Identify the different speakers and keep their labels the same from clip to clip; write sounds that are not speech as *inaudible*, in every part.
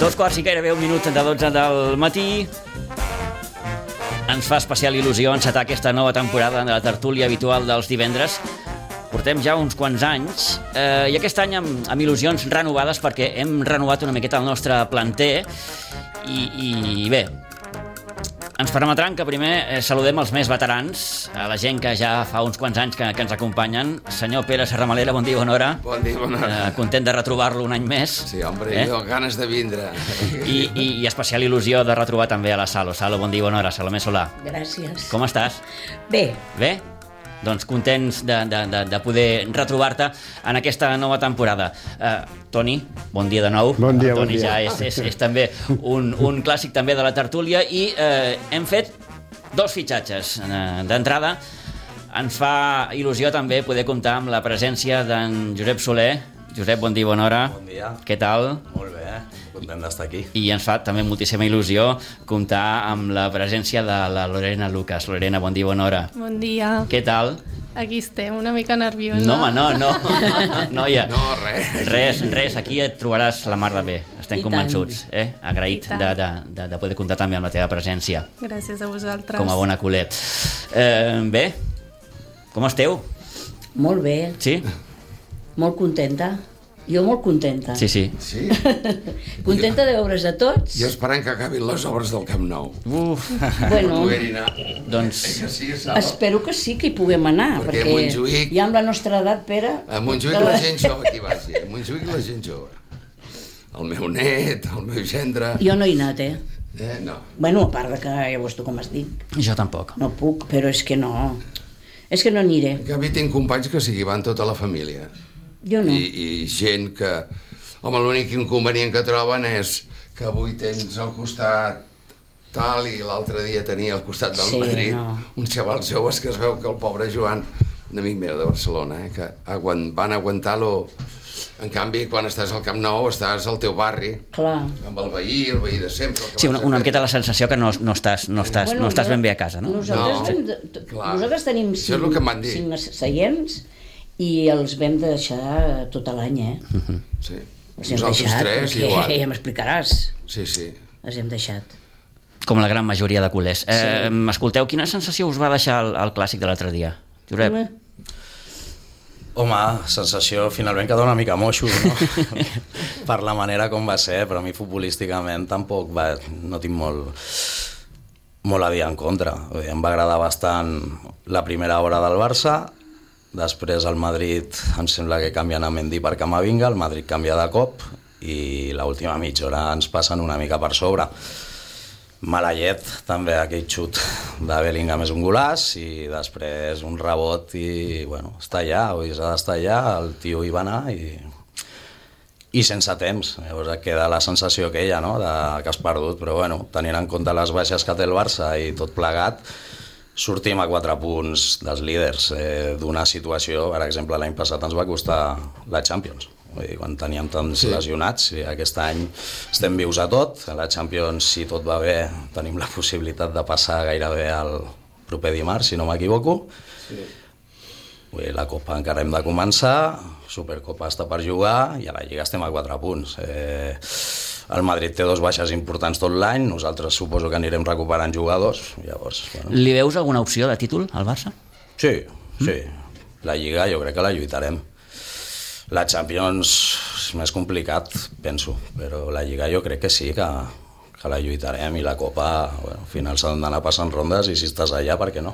Speaker 1: Dos quarts i gairebé un minut de 12 del matí. Ens fa especial il·lusió encetar aquesta nova temporada de la tertúlia habitual dels divendres. Portem ja uns quants anys eh, i aquest any amb, amb il·lusions renovades perquè hem renovat una miqueta el nostre planter i, i bé, ens permetran que primer eh, saludem els més veterans, a la gent que ja fa uns quants anys que, que ens acompanyen. Senyor Pere Serramalera, bon dia, bona hora.
Speaker 2: Bon dia, bona hora.
Speaker 1: Eh, content de retrobar-lo un any més.
Speaker 2: Sí, home, eh? jo ganes de vindre.
Speaker 1: I, i, I especial il·lusió de retrobar també a la Salo. Salo, bon dia, bona hora. Salomé Solà.
Speaker 3: Gràcies.
Speaker 1: Com estàs?
Speaker 3: Bé,
Speaker 1: Bé? Doncs contents de, de, de, de poder retrobar-te en aquesta nova temporada. Uh, Toni, bon dia de nou.
Speaker 4: Bon dia,
Speaker 1: El Toni
Speaker 4: bon dia.
Speaker 1: ja és, és, és també un, un clàssic també de la tertúlia i uh, hem fet dos fitxatges uh, d'entrada. Ens fa il·lusió també poder comptar amb la presència d'en Josep Soler. Josep, bon dia, bona hora.
Speaker 5: Bon dia.
Speaker 1: Què tal?
Speaker 5: Molt bé, content d'estar aquí.
Speaker 1: I ens fa també moltíssima il·lusió comptar amb la presència de la Lorena Lucas. Lorena, bon dia, bona hora.
Speaker 6: Bon dia.
Speaker 1: Què tal?
Speaker 6: Aquí estem, una mica nerviosa.
Speaker 1: No, home, no, no. Noia.
Speaker 2: No, res.
Speaker 1: Res, res, aquí et trobaràs la mar de bé. Estem
Speaker 3: I tant.
Speaker 1: convençuts, eh? Agraït
Speaker 6: I tant.
Speaker 1: de, de, de, de poder comptar també amb la teva presència
Speaker 6: Gràcies a vosaltres.
Speaker 1: com a bona culer. Eh, bé, com esteu?
Speaker 3: molt bé,
Speaker 1: Sí?
Speaker 3: molt contenta. Jo molt contenta.
Speaker 1: Sí, sí.
Speaker 2: Sí?
Speaker 3: Contenta de veure's a tots.
Speaker 2: Jo esperant que acabin les obres del Camp Nou.
Speaker 1: Uf,
Speaker 3: Bueno,
Speaker 2: Poder-hi anar.
Speaker 1: doncs...
Speaker 2: Eh que sí, Sala?
Speaker 3: espero que sí que hi puguem anar,
Speaker 2: Perquè
Speaker 3: perquè,
Speaker 2: a Montjuïc-
Speaker 3: ja amb la nostra edat, Pere...
Speaker 2: A Montjuïc la gent jove qui vagi. A Montjuïc la gent jove. El meu net, el meu gendre...
Speaker 3: Jo no he anat, eh?
Speaker 2: Eh, no.
Speaker 3: Bueno, a part de que ja veus tu com estic.
Speaker 1: Jo tampoc.
Speaker 3: No puc, però és que no... És que no aniré.
Speaker 2: En canvi tinc companys que s'hi van tota la família.
Speaker 3: Jo no.
Speaker 2: I, i gent que... Home, l'únic inconvenient que troben és que avui tens al costat tal i l'altre dia tenia al costat del
Speaker 3: Sí,
Speaker 2: Madrid
Speaker 3: no.
Speaker 2: uns xavals joves que es veu que el pobre Joan, un amic meu de Barcelona, eh, que aguant, van aguantar-lo... En canvi, quan estàs al Camp Nou, estàs al teu barri,
Speaker 3: Clar.
Speaker 2: amb el veí, el veí de sempre... el que
Speaker 1: Sí, una,
Speaker 2: vas a
Speaker 1: una
Speaker 2: fer.
Speaker 1: miqueta la sensació que no, no, estàs, no, estàs, no estàs
Speaker 3: jo-
Speaker 1: ben bé a casa, no?
Speaker 3: Nosaltres,
Speaker 2: No,
Speaker 3: no, vam, de-
Speaker 2: clar.
Speaker 3: nosaltres tenim
Speaker 2: Això és
Speaker 3: cinc,
Speaker 2: el que em van dir.
Speaker 3: cinc se- seients i els vam deixar tot l'any, eh?
Speaker 2: Sí.
Speaker 3: Els hem
Speaker 2: Nosaltres
Speaker 3: deixat,
Speaker 2: tres,
Speaker 3: perquè
Speaker 2: igual.
Speaker 3: *laughs* Ja m'explicaràs.
Speaker 2: Sí, sí.
Speaker 3: Els hem deixat.
Speaker 1: Com la gran majoria de culers. Eh, Escolteu, quina sensació us va deixar el, el clàssic de l'altre dia? Josep,
Speaker 3: Home,
Speaker 5: Home, sensació finalment que dona una mica moixo, no? per la manera com va ser, però a mi futbolísticament tampoc va, no tinc molt, molt a dir en contra. Vull dir, em va agradar bastant la primera hora del Barça, després el Madrid em sembla que canvien a Mendy per Camavinga, el Madrid canvia de cop i l'última mitja hora ens passen una mica per sobre. Mala llet, també, aquell xut de Bellingham és un golaç i després un rebot i, bueno, està allà, o s'ha d'estar allà, el tio hi va anar i, i sense temps. Llavors et queda la sensació aquella, no?, de, que has perdut, però, bueno, tenint en compte les baixes que té el Barça i tot plegat, sortim a quatre punts dels líders eh, d'una situació, per exemple, l'any passat ens va costar la Champions. Vull dir, quan teníem tants sí. lesionats, i aquest any estem vius a tot, a la Champions, si tot va bé, tenim la possibilitat de passar gairebé al proper dimarts, si no m'equivoco. Vull dir, la Copa encara hem de començar, Supercopa està per jugar i a la Lliga estem a 4 punts. Eh, el Madrid té dos baixes importants tot l'any, nosaltres suposo que anirem recuperant jugadors, llavors... Bueno.
Speaker 1: li veus alguna opció de títol al Barça?
Speaker 5: Sí, sí. La Lliga jo crec que la lluitarem. La Champions és més complicat, penso, però la Lliga jo crec que sí, que, que la lluitarem i la Copa, bueno, al final s'han d'anar passant rondes i si estàs allà, per què no?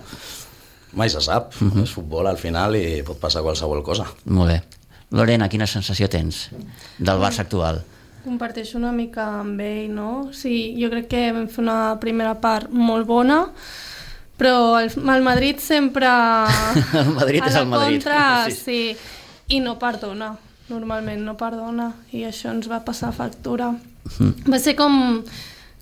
Speaker 5: Mai se sap, és futbol al final i pot passar qualsevol cosa.
Speaker 1: Molt bé. Lorena, quina sensació tens del Barça actual?
Speaker 6: Comparteixo una mica amb ell, no? Sí, jo crec que vam fer una primera part molt bona, però el, el Madrid sempre...
Speaker 1: *laughs* El Madrid
Speaker 6: a
Speaker 1: és
Speaker 6: la
Speaker 1: el Madrid.
Speaker 6: Contra,
Speaker 1: Sí.
Speaker 6: sí. I no perdona, normalment no perdona, i això ens va passar factura.
Speaker 1: Mhm.
Speaker 6: Va ser com,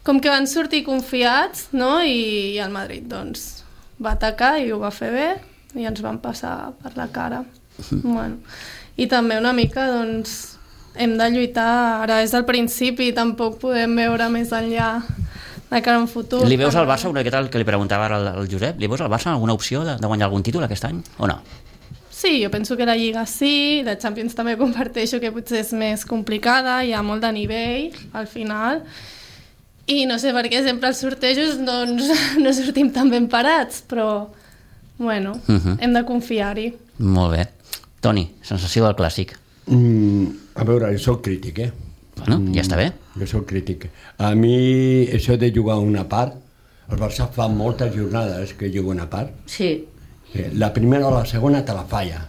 Speaker 6: com que van sortir confiats, no? I, i el Madrid, doncs, va atacar i ho va fer bé, i ens van passar per la cara.
Speaker 1: Mhm.
Speaker 6: Bueno, I també una mica, doncs, hem de lluitar, ara és el principi, tampoc podem veure més enllà de cara a un futur.
Speaker 1: Li veus al
Speaker 6: Però-
Speaker 1: Barça, una miqueta el que li preguntava ara el, el Josep, li veus al Barça alguna opció de, de guanyar algun títol aquest any o no?
Speaker 6: Sí, jo penso que la Lliga sí, la Champions també *laughs* comparteixo que potser és més complicada, hi ha molt de nivell al final, i no sé per què sempre els sortejos doncs, *laughs* no sortim tan ben parats, però bueno, uh
Speaker 1: Mhm.
Speaker 6: -huh. hem de confiar-hi.
Speaker 1: Molt bé. Toni, sensació del clàssic.
Speaker 4: Mm, a veure, jo sóc crític, eh?
Speaker 1: Bueno, ja està bé.
Speaker 4: Jo sóc crític. A mi això de jugar una part, el Barça fa moltes jornades que juga una part.
Speaker 3: Sí,
Speaker 4: Eh, La primera o la segona te la falla.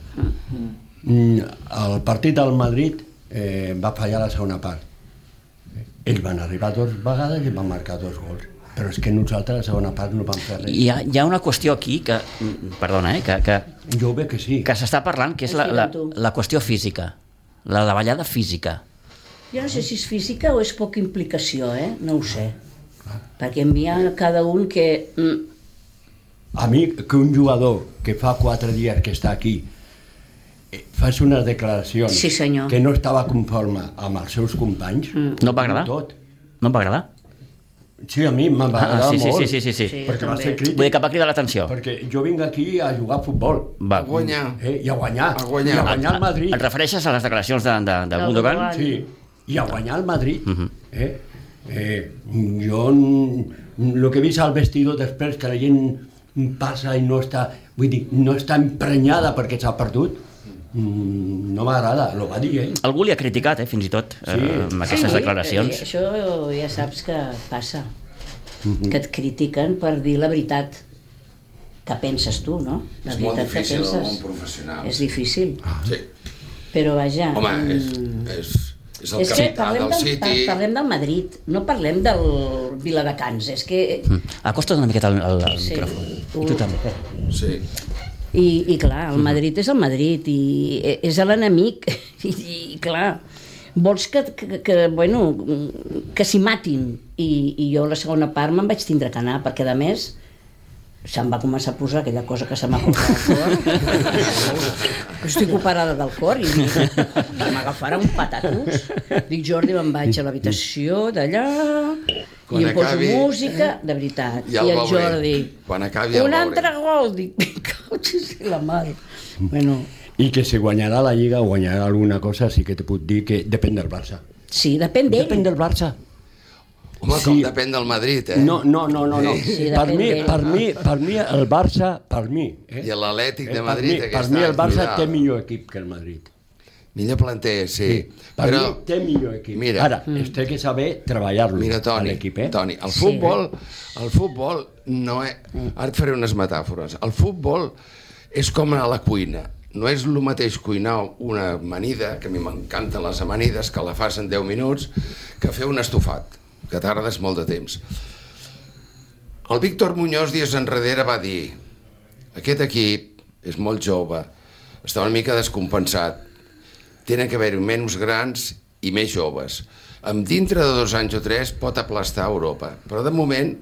Speaker 4: Mm, El partit del Madrid eh, va fallar la segona part. Eh, Ells van arribar dues vegades i van marcar dos gols. Però és que nosaltres la segona part no vam fer res.
Speaker 1: Hi ha, hi ha una qüestió aquí que, perdona, eh, que, que,
Speaker 4: Jo veig que sí.
Speaker 1: que s'està parlant, que és la, la, la qüestió física, la davallada física.
Speaker 3: Jo no sé si és física o és poca implicació, eh? No ho sé. Perquè en hi ha cada un que... mm,
Speaker 4: A mi, que un jugador que fa quatre dies que està aquí eh, fas unes declaracions
Speaker 3: Sí, senyor.
Speaker 4: que no estava conforme amb els seus companys mm.
Speaker 1: No et va agradar?
Speaker 4: Tot.
Speaker 1: No em va agradar?
Speaker 4: Sí, a mi m'ha
Speaker 1: Ah,
Speaker 4: agradat
Speaker 1: sí, sí,
Speaker 4: molt
Speaker 1: sí, sí, sí, sí.
Speaker 3: Sí.
Speaker 4: perquè va
Speaker 3: també.
Speaker 4: ser crític
Speaker 1: Vull dir que va cridar l'atenció.
Speaker 4: perquè jo vinc aquí a jugar a futbol
Speaker 1: Va.
Speaker 2: Guanyar.
Speaker 4: eh, i a guanyar,
Speaker 2: A guanyar.
Speaker 4: i a guanyar el Madrid
Speaker 1: Et refereixes a les declaracions de, de, de
Speaker 3: No,
Speaker 1: Gundogan?
Speaker 3: Gundogan.
Speaker 4: sí, i a guanyar el Madrid eh? Eh, jo el que he vist al vestidor després que la gent passa i no està vull dir, no està emprenyada perquè s'ha perdut mm, no m'agrada, lo va dir ell
Speaker 1: Algú li ha criticat, eh, fins i tot, sí. eh, amb aquestes
Speaker 3: sí,
Speaker 1: declaracions.
Speaker 3: eh, Això ja saps que passa.
Speaker 2: Mhm.
Speaker 3: Que et critiquen per dir la veritat que penses tu, no? La
Speaker 2: És molt
Speaker 3: veritat que
Speaker 2: difícil en el món
Speaker 3: penses.
Speaker 2: professional.
Speaker 3: És difícil.
Speaker 2: Sí.
Speaker 3: Però vaja...
Speaker 2: Home,
Speaker 3: mm,
Speaker 2: és, és, és el
Speaker 3: és que
Speaker 2: capità
Speaker 3: parlem
Speaker 2: del
Speaker 3: del,
Speaker 2: City.
Speaker 3: par- parlem del Madrid, no parlem del Viladecans, és que...
Speaker 1: Mm. Acosta't una miqueta al, al, al
Speaker 3: Sí.
Speaker 1: micròfon. I
Speaker 3: Ui.
Speaker 1: tu també.
Speaker 2: Sí.
Speaker 3: I, i clar, el Madrid és el Madrid i e- és l'enemic *laughs* I, i clar, vols que, que, que bueno, que s'hi matin I, i jo la segona part me'n vaig tindre que anar perquè a més se'm va començar a posar aquella cosa que se m'ha posat al
Speaker 2: *laughs*
Speaker 3: cor estic operada del cor i m'agafarà un patatús dic Jordi me'n vaig a l'habitació d'allà i
Speaker 2: Quan
Speaker 3: em poso
Speaker 2: acabi-
Speaker 3: música de veritat
Speaker 2: Ja el
Speaker 3: i el
Speaker 2: veuré.
Speaker 3: Jordi
Speaker 2: Quan acabi ja el
Speaker 3: un
Speaker 2: veuré.
Speaker 3: altre gol dic, *laughs* "Me cautxis i la mare bueno,
Speaker 4: i que si guanyarà la Lliga o guanyarà alguna cosa sí que te puc dir que depèn del Barça
Speaker 3: sí, depèn d'ell
Speaker 4: depèn del Barça
Speaker 2: Home, com
Speaker 4: Sí.
Speaker 2: depèn del Madrid, eh?
Speaker 4: no, no, no, no, no.
Speaker 3: Sí,
Speaker 4: per,
Speaker 3: depèn
Speaker 4: mi,
Speaker 3: d'ell.
Speaker 4: per, mi, per mi el Barça per mi eh?
Speaker 2: I l'Atlètic
Speaker 4: Eh,
Speaker 2: de Madrid
Speaker 4: per mi, per
Speaker 2: aquest
Speaker 4: mi el
Speaker 2: any,
Speaker 4: Barça
Speaker 2: cuidado.
Speaker 4: té millor equip que el Madrid
Speaker 2: Millor planter, sí. sí.
Speaker 4: Per
Speaker 2: Però,
Speaker 4: mi té millor equip.
Speaker 2: Mira.
Speaker 4: Mira, Ara, mm. es té que saber treballar-lo,
Speaker 2: mira, Toni,
Speaker 4: l'equip, eh?
Speaker 2: Toni, el
Speaker 3: Sí.
Speaker 2: futbol, el futbol no és... Ara et faré unes metàfores. El futbol és com a la cuina. No és el mateix cuinar una amanida, que a mi m'encanten les amanides, que la fas en 10 minuts, que fer un estofat, que tardes molt de temps. El Víctor Muñoz dies enrere va dir aquest equip és molt jove, està una mica descompensat, tenen que haver-hi menys grans i més joves. Amb dintre de dos anys o tres pot aplastar Europa, però de moment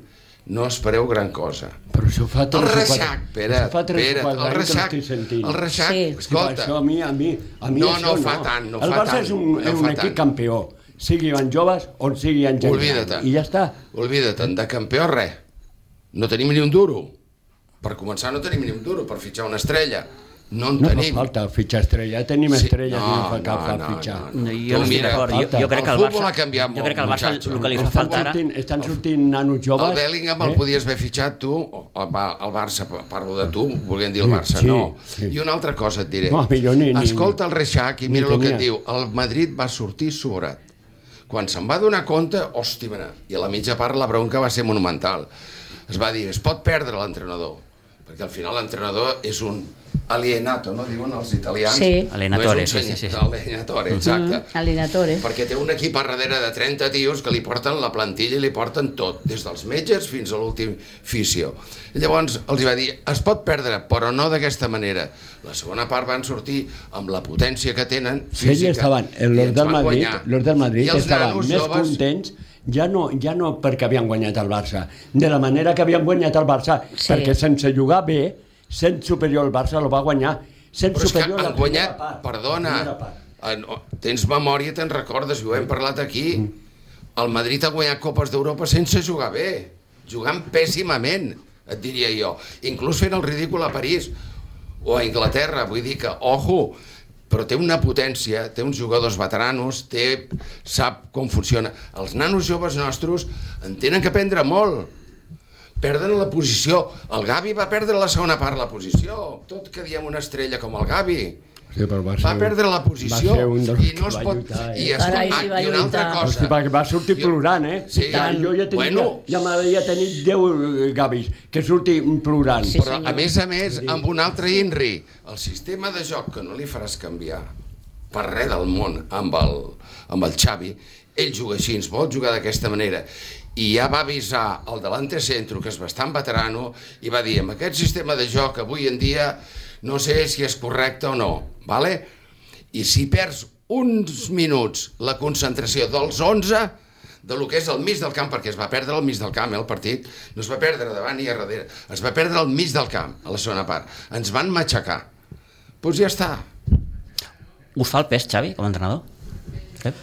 Speaker 2: no espereu gran cosa.
Speaker 4: Però això fa
Speaker 2: El
Speaker 4: tres o quatre...
Speaker 2: reixac, Pere,
Speaker 4: això fa tres o
Speaker 2: Pere, el
Speaker 4: quatre anys que
Speaker 2: reixac,
Speaker 4: l'estic sentint.
Speaker 2: el reixac,
Speaker 3: Sí.
Speaker 4: Escolta.
Speaker 2: escolta,
Speaker 4: Això a mi, a mi, a mi
Speaker 2: No,
Speaker 4: això
Speaker 2: no fa tant, no
Speaker 4: el
Speaker 2: fa
Speaker 4: Barça
Speaker 2: tant,
Speaker 4: és un,
Speaker 2: no
Speaker 4: és
Speaker 2: fa
Speaker 4: un equip
Speaker 2: tant.
Speaker 4: campió, sigui en joves o sigui en gent. gran.
Speaker 2: Oblida-te'n.
Speaker 4: I ja està.
Speaker 2: Oblida't, de campió res. No tenim ni un duro. Per començar no tenim ni un duro, per fitxar una estrella. No en
Speaker 4: No fa
Speaker 2: tenim.
Speaker 4: falta fitxar estrella, ja tenim
Speaker 2: Sí.
Speaker 4: estrelles,
Speaker 2: No,
Speaker 4: no, no fa cap
Speaker 2: no,
Speaker 4: no,
Speaker 2: no,
Speaker 4: fitxar.
Speaker 2: no, no.
Speaker 1: Jo no estic
Speaker 2: Mira,
Speaker 1: d'acord. Jo, jo, crec que el,
Speaker 2: el
Speaker 1: Barça,
Speaker 2: futbol ha canviat molt,
Speaker 1: jo crec que el Barça
Speaker 2: muchacho.
Speaker 1: el que li fa
Speaker 2: El
Speaker 4: Estan,
Speaker 1: falta ara...
Speaker 4: sortint, estan sortint nanos joves... Eh?
Speaker 2: El Bellingham el podies haver fitxat tu, o- o va- el Barça, pa- parlo de tu, volien dir el Barça,
Speaker 4: sí,
Speaker 2: no.
Speaker 4: sí.
Speaker 2: I una altra cosa et diré.
Speaker 4: No, millor ni- ni-
Speaker 2: Escolta el Reixac i mira
Speaker 4: ni
Speaker 2: el que et
Speaker 4: tenia.
Speaker 2: diu. El Madrid va sortir sobrat. Quan se'n va donar compte, hòstia, mira, i a la mitja part la bronca va ser monumental. Es va dir, es pot perdre l'entrenador, perquè al final l'entrenador és un alienato, no diuen els italians?
Speaker 3: Sí. Mm-hmm.
Speaker 2: no
Speaker 1: Alienatore,
Speaker 2: és
Speaker 1: sí,
Speaker 2: un senyor,
Speaker 1: sí, sí.
Speaker 2: Alienatore, exacte.
Speaker 3: Mm, Alinatore.
Speaker 2: Perquè té un equip a darrere de 30 tios que li porten la plantilla i li porten tot, des dels metges fins a l'últim fisio. I llavors els hi va dir, es pot perdre, però no d'aquesta manera. La segona part van sortir amb la potència que tenen
Speaker 4: Sí, ells
Speaker 2: física.
Speaker 4: estaven,
Speaker 2: i
Speaker 4: els
Speaker 2: ens
Speaker 4: del
Speaker 2: van
Speaker 4: Madrid,
Speaker 2: guanyar.
Speaker 4: los del Madrid
Speaker 2: I els
Speaker 4: estaven
Speaker 2: nanos
Speaker 4: més
Speaker 2: joves-
Speaker 4: contents ja no, ja no perquè havien guanyat el Barça, de la manera que havien guanyat el Barça,
Speaker 3: Sí.
Speaker 4: perquè sense jugar bé, sent superior el Barça el va guanyar, sent
Speaker 2: Però és que
Speaker 4: superior a la
Speaker 2: han
Speaker 4: primera
Speaker 2: guanyat,
Speaker 4: part,
Speaker 2: perdona,
Speaker 4: la primera part.
Speaker 2: eh, no, tens memòria, te'n recordes, i ho hem parlat aquí,
Speaker 4: Mm.
Speaker 2: el Madrid ha guanyat Copes d'Europa sense jugar bé, jugant pèssimament, et diria jo, inclús fent el ridícul a París. o a Inglaterra, vull dir que, ojo, però té una potència, té uns jugadors veteranos, té, sap com funciona. Els nanos joves nostres en tenen que aprendre molt. Perden la posició. El Gavi va perdre la segona part la posició. Tot que diem una estrella com el Gavi.
Speaker 4: Sí, però va,
Speaker 2: Va
Speaker 4: ser-
Speaker 2: perdre la posició
Speaker 4: va ser un dels
Speaker 2: i no
Speaker 4: que
Speaker 2: es
Speaker 4: va
Speaker 2: pot...
Speaker 4: lluitar, eh?
Speaker 2: I, es...
Speaker 3: Carai, sí, va
Speaker 2: i una altra
Speaker 3: lluitar.
Speaker 4: Hosti,
Speaker 2: cosa.
Speaker 4: perquè va sortir
Speaker 2: Jo-
Speaker 4: plorant, eh?
Speaker 2: Sí.
Speaker 4: Ja, jo ja tenia,
Speaker 2: Bueno.
Speaker 4: ja m'havia tenir 10 gavis, que surti plorant.
Speaker 3: Sí,
Speaker 2: Però, a més a més, amb un altre INRI, el sistema de joc que no li faràs canviar per res del món amb el, amb el Xavi, ell juga així, ens vol jugar d'aquesta manera. I ja va avisar el delante centro, que és bastant veterano, i va dir, amb aquest sistema de joc avui en dia no sé si és correcte o no, vale? i si perds uns minuts la concentració dels 11 de lo que és el mig del camp, perquè es va perdre al mig del camp, eh, el partit, no es va perdre davant ni a darrere, es va perdre al mig del camp, a la segona part. Ens van matxacar. Doncs pues ja està.
Speaker 1: Us fa el pes, Xavi, com a entrenador? Pep?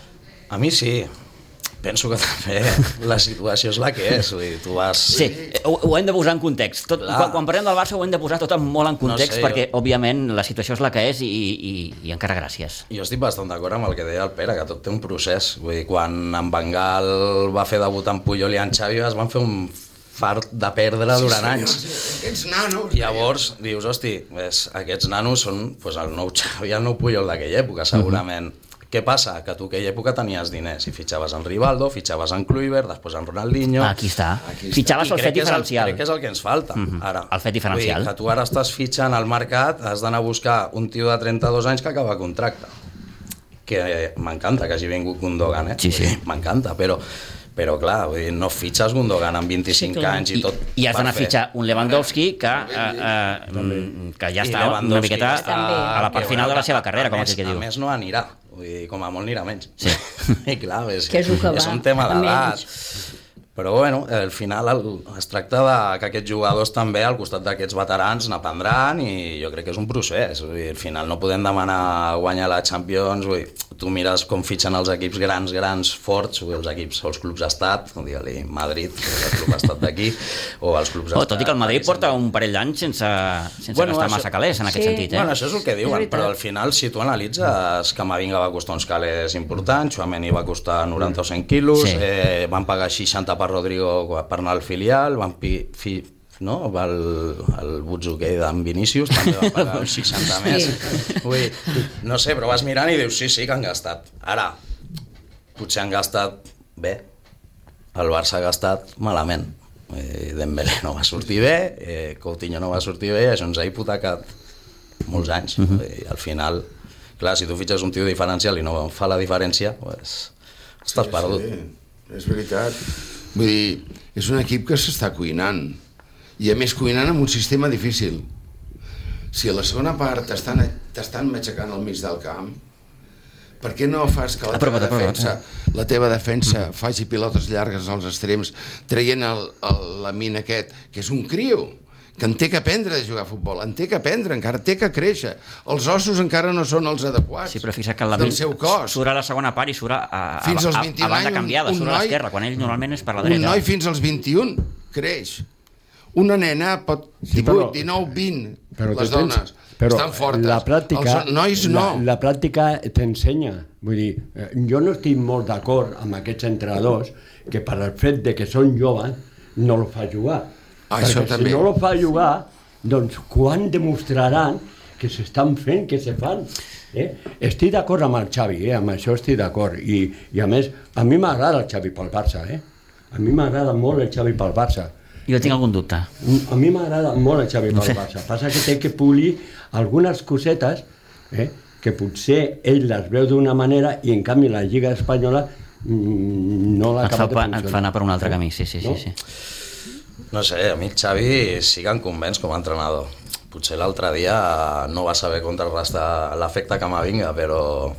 Speaker 5: A mi sí. Penso que *laughs* també la situació és la que és. Vull dir, tu vas...
Speaker 1: Sí, eh, ho, ho hem de posar en context. Tot,
Speaker 5: Clar.
Speaker 1: quan, quan parlem del Barça ho hem de posar tot en- molt en context no
Speaker 5: sé, jo-
Speaker 1: sé, perquè, òbviament, la situació és la que és i, i, i encara gràcies.
Speaker 5: Jo estic bastant d'acord amb el que deia el Pere, que tot té un procés. Vull dir, quan en Bengal va fer debut amb Puyol i en Xavi es van fer un fart de perdre sí, durant anys.
Speaker 2: Aquests nanos...
Speaker 5: Llavors, dius, hosti, ves, aquests nanos són pues, el nou Xavi, el nou Puyol d'aquella època, segurament. Què passa? Que tu aquella època tenies diners i fitxaves en Rivaldo, fitxaves en Kluivert, després en Ronaldinho...
Speaker 1: Ah, aquí està. Aquí
Speaker 2: Aquí està.
Speaker 1: està. Fitxaves
Speaker 5: I
Speaker 1: el
Speaker 5: crec
Speaker 1: fet
Speaker 5: que és
Speaker 1: diferencial.
Speaker 5: Crec que és el que ens falta, mm
Speaker 1: Mhm.
Speaker 5: -hmm. ara.
Speaker 1: El fet diferencial.
Speaker 5: Vull dir, que tu ara estàs fitxant al mercat, has d'anar a buscar un tio de 32 anys que acaba contracte. Que eh, m'encanta que hagi vingut Gundogan, eh?
Speaker 1: Sí, sí.
Speaker 5: Vull dir, M'encanta, però però clar, vull dir, no fitxes Gundogan amb 25
Speaker 3: Sí,
Speaker 5: sí,
Speaker 3: clar.
Speaker 5: anys i tot
Speaker 1: I, i has
Speaker 5: per
Speaker 1: d'anar a
Speaker 5: fer.
Speaker 1: fitxar un Lewandowski que, eh, eh, mm, que ja
Speaker 5: I
Speaker 1: està una
Speaker 5: Lewandowski
Speaker 1: miqueta
Speaker 5: està Ah,
Speaker 1: a,
Speaker 3: bé.
Speaker 1: a la part
Speaker 5: Que,
Speaker 1: final de la
Speaker 5: bueno,
Speaker 1: seva
Speaker 5: a-
Speaker 1: carrera,
Speaker 5: a
Speaker 1: com
Speaker 5: més-
Speaker 1: aquell que
Speaker 5: A
Speaker 1: diu.
Speaker 5: més no anirà, vull dir, com a molt anirà menys. Sí. *laughs* I clar, és,
Speaker 3: Que és el que
Speaker 5: és
Speaker 3: va,
Speaker 5: un tema
Speaker 3: a
Speaker 5: d'edat.
Speaker 3: menys.
Speaker 5: Però bueno, al final el, es tracta de que aquests jugadors també al costat d'aquests veterans n'aprendran i jo crec que és un procés. Vull dir, al final no podem demanar guanyar la Champions, vull dir, tu mires com fitxen els equips grans, grans, forts, vull dir, els equips o els clubs estat, digue-li Madrid, que és el club estat d'aquí, o els clubs
Speaker 1: Oh,
Speaker 5: estat...
Speaker 1: tot i que el Madrid
Speaker 5: Paris
Speaker 1: porta un parell d'anys sense, sense bueno,
Speaker 5: Bueno,
Speaker 1: gastar
Speaker 5: això-
Speaker 1: massa calés, en aquest
Speaker 3: Sí.
Speaker 1: sentit. Eh?
Speaker 5: Bueno, això és el que diuen,
Speaker 3: veritat.
Speaker 5: però al final, si tu analitzes, Camavinga va costar uns calés importants, Chouameni va costar 90 o 100 quilos,
Speaker 1: Sí.
Speaker 5: sí. eh, van pagar 60 per Rodrigo per anar al filial, van pi, fi, no? Va el, el Butzuquei d'en Vinícius també va pagar uns 60 més Vull dir, no sé, però vas mirant i dius sí, sí que han gastat, ara potser han gastat bé el Barça ha gastat malament eh, Dembélé no va sortir bé eh, Coutinho no va sortir bé i això ens ha hipotecat molts anys
Speaker 2: Mhm.
Speaker 5: mm -hmm. i al final, clar, si tu fitxes un tio diferencial i no fa la diferència pues, estàs perdut
Speaker 2: Sí, és veritat. Vull dir, és un equip que s'està cuinant. I a més cuinant amb un sistema difícil. Si a la segona part t'estan t'estan matxacant al mig del camp, per què no fas que la teva
Speaker 1: Aprova't, aprova't.
Speaker 2: defensa, la teva defensa faci pilotes llargues als extrems, traient el, el, la mina aquest, que és un criu, que en té que aprendre de jugar a futbol, en té que aprendre, encara té que créixer. Els ossos encara no són els adequats
Speaker 1: Sí, però fixa't que la
Speaker 2: del seu cos.
Speaker 1: surt a la segona part i surt a, a,
Speaker 2: Fins
Speaker 1: a,
Speaker 2: als
Speaker 1: a,
Speaker 2: 21
Speaker 1: a banda
Speaker 2: anys,
Speaker 1: canviada,
Speaker 2: un
Speaker 1: surt a
Speaker 2: noi-
Speaker 1: l'esquerra, quan ell normalment és per la
Speaker 2: Un
Speaker 1: dreta.
Speaker 2: noi fins als 21 creix. Una nena pot 18,
Speaker 4: Sí, però-
Speaker 2: 19, 20,
Speaker 4: Però
Speaker 2: les
Speaker 4: tu tens-
Speaker 2: dones estan fortes.
Speaker 4: La pràctica,
Speaker 2: els nois no.
Speaker 4: La, la pràctica t'ensenya. Vull dir, eh, jo no estic molt d'acord amb aquests entrenadors que per el fet de que són joves no el fa jugar.
Speaker 2: Ah, això
Speaker 4: Perquè
Speaker 2: també.
Speaker 4: si no el fa jugar, doncs quan demostraran que s'estan fent, que se fan? Eh? Estic d'acord amb el Xavi, eh? amb això estic d'acord. I, I a més, a mi m'agrada el Xavi pel Barça, eh? A mi m'agrada molt el Xavi pel Barça.
Speaker 1: Jo tinc algun dubte.
Speaker 4: A mi m'agrada molt el Xavi pel Barça. Passa que té que polir algunes cosetes eh, que potser ell les veu d'una manera i en canvi la Lliga Espanyola mm, no l'ha
Speaker 1: Et fa,
Speaker 4: acabat de
Speaker 1: pa- et fa anar
Speaker 4: funcionar.
Speaker 1: per un altre camí, sí, sí, sí.
Speaker 4: No?
Speaker 1: sí.
Speaker 5: no sé, a mi el Xavi sí que em convenç com a entrenador potser l'altre dia no va saber contrarrestar l'efecte Camavinga, però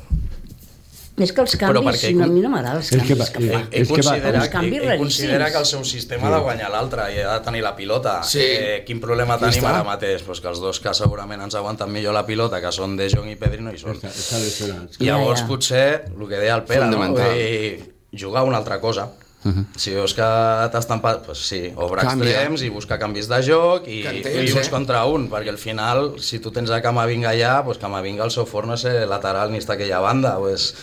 Speaker 3: És que els
Speaker 5: Però
Speaker 3: canvis,
Speaker 5: perquè-
Speaker 3: no, a mi no m'agraden els
Speaker 4: És que
Speaker 3: canvis
Speaker 4: va-
Speaker 3: que,
Speaker 4: eh,
Speaker 3: fa.
Speaker 5: ell, ell,
Speaker 4: És que va-
Speaker 5: considera,
Speaker 3: uns canvis
Speaker 5: ell, ell considera
Speaker 3: raríssims.
Speaker 5: que el seu sistema ha de guanyar l'altre i ha de tenir la pilota.
Speaker 2: Sí.
Speaker 5: Eh, quin problema
Speaker 2: Aquí
Speaker 5: tenim
Speaker 2: està.
Speaker 5: ara mateix? Pues que els dos que segurament ens aguanten millor la pilota, que són De Jong i Pedri, no hi són.
Speaker 4: Està, està lesionat.
Speaker 5: Llavors
Speaker 3: Ja, ja.
Speaker 5: potser, el que deia el Pere, no?
Speaker 2: Fonamental.
Speaker 5: Vull dir, jugar a una altra cosa, Si veus que t'has tampat, doncs sí, obre
Speaker 2: Canvia.
Speaker 5: extrems i buscar canvis de joc i,
Speaker 2: Que en tens,
Speaker 5: i uns
Speaker 2: eh?
Speaker 5: contra un, perquè al final, si tu tens a Camavinga allà, doncs Camavinga el seu forn no sé, lateral ni està a aquella banda. Doncs,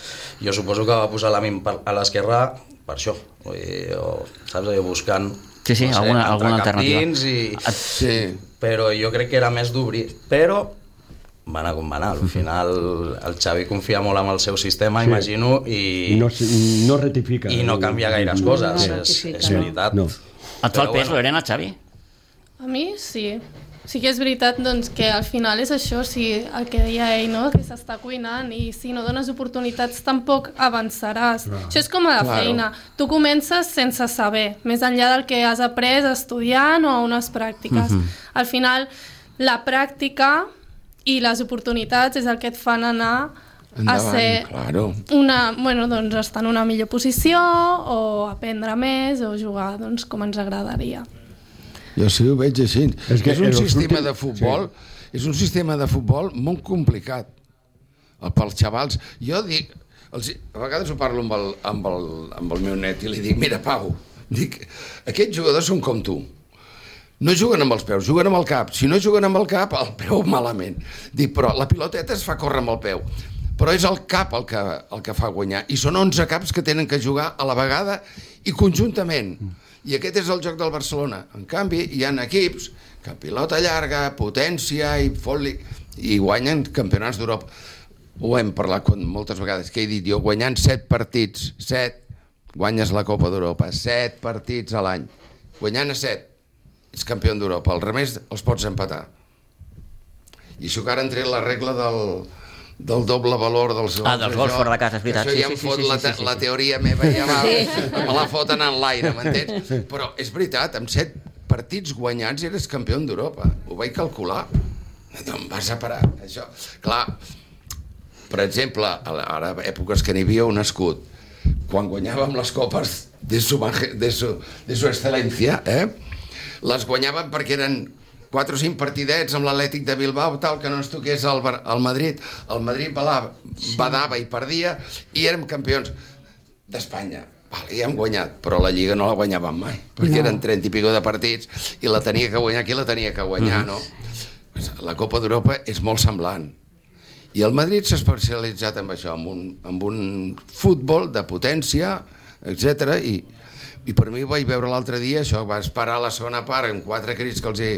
Speaker 5: jo suposo que va posar la min per- a l'esquerra per això. Vull dir, o, saps, allò buscant...
Speaker 1: Sí, sí, alguna-
Speaker 5: entrar
Speaker 1: alguna
Speaker 5: cap
Speaker 1: alternativa.
Speaker 5: dins I,
Speaker 2: Sí.
Speaker 5: però jo crec que era més d'obrir, però va anar com va anar. Al final el Xavi confia molt en el seu sistema,
Speaker 4: Sí.
Speaker 5: sí. imagino, i
Speaker 4: No, s- no rectifica.
Speaker 5: i no canvia gaires
Speaker 4: No,
Speaker 5: coses,
Speaker 4: no
Speaker 5: és,
Speaker 3: rectifica,
Speaker 5: és
Speaker 4: no.
Speaker 5: veritat.
Speaker 4: No.
Speaker 1: Et fa el
Speaker 5: Però
Speaker 1: pes,
Speaker 5: bueno.
Speaker 1: Lorena, Xavi?
Speaker 6: A mi sí. Sí que és veritat doncs, que al final és això, sí, el que deia ell, no? que s'està cuinant i si no dones oportunitats tampoc avançaràs. Clar. Això és com a la
Speaker 2: Claro.
Speaker 6: feina. Tu comences sense saber, més enllà del que has après estudiant o a unes pràctiques.
Speaker 2: Mhm.
Speaker 6: Al final, la pràctica i les oportunitats és el que et fan anar a Ah,
Speaker 2: Endavant,
Speaker 6: ser
Speaker 2: claro.
Speaker 6: una, bueno, doncs, estar en una millor posició o aprendre més o jugar doncs, com ens agradaria.
Speaker 2: Jo sí ho veig així.
Speaker 4: És
Speaker 2: És,
Speaker 4: que
Speaker 2: que és un
Speaker 4: en els
Speaker 2: sistema
Speaker 4: últims-
Speaker 2: de futbol, sí. és un sistema de futbol molt complicat eh, pels xavals. Jo dic, els, a vegades ho parlo amb el, amb, el, amb el meu net i li dic, mira, Pau, dic, aquests jugadors són com tu. No juguen amb els peus, juguen amb el cap. Si no juguen amb el cap, el peu malament. Dic, però la piloteta es fa córrer amb el peu. Però és el cap el que, el que fa guanyar. I són 11 caps que tenen que jugar a la vegada i conjuntament. I aquest és el joc del Barcelona. En canvi, hi han equips que pilota llarga, potència i fot-li... i guanyen campionats d'Europa. Ho hem parlat quan, moltes vegades, que he dit jo, guanyant 7 partits, 7, guanyes la Copa d'Europa, 7 partits a l'any, guanyant a 7, ets campió d'Europa, al revés els pots empatar. I això que ara han tret la regla del, del doble valor dels
Speaker 1: Ah, dels gols fora de casa, és veritat.
Speaker 2: Això
Speaker 1: Sí,
Speaker 2: ja em
Speaker 1: sí, sí,
Speaker 2: fot
Speaker 1: sí,
Speaker 2: la,
Speaker 1: sí, sí, sí.
Speaker 2: la teoria meva ja va, me la foten en l'aire, m'entens? Però és veritat, amb set partits guanyats eres campió d'Europa. Ho vaig calcular. D'on vas a parar, això? Clar, per exemple, a la- ara èpoques que n'hi havia un escut, quan guanyàvem les copes de su, maje- de su, de su excel·lència, eh? les guanyàvem perquè eren 4 o 5 partidets amb l'Atlètic de Bilbao, tal, que no ens toqués el, Bar- el Madrid. El Madrid balava, badava i perdia, i érem campions d'Espanya. Vale, ja hem guanyat, però la Lliga no la guanyàvem mai, perquè no. eren 30 i pico de partits i la tenia que guanyar qui la tenia que guanyar, no? Pues La Copa d'Europa és molt semblant. I el Madrid s'ha especialitzat en això, en un, en un futbol de potència, etc. I, I per mi ho vaig veure l'altre dia, això, va esperar la segona part amb quatre crits que els hi,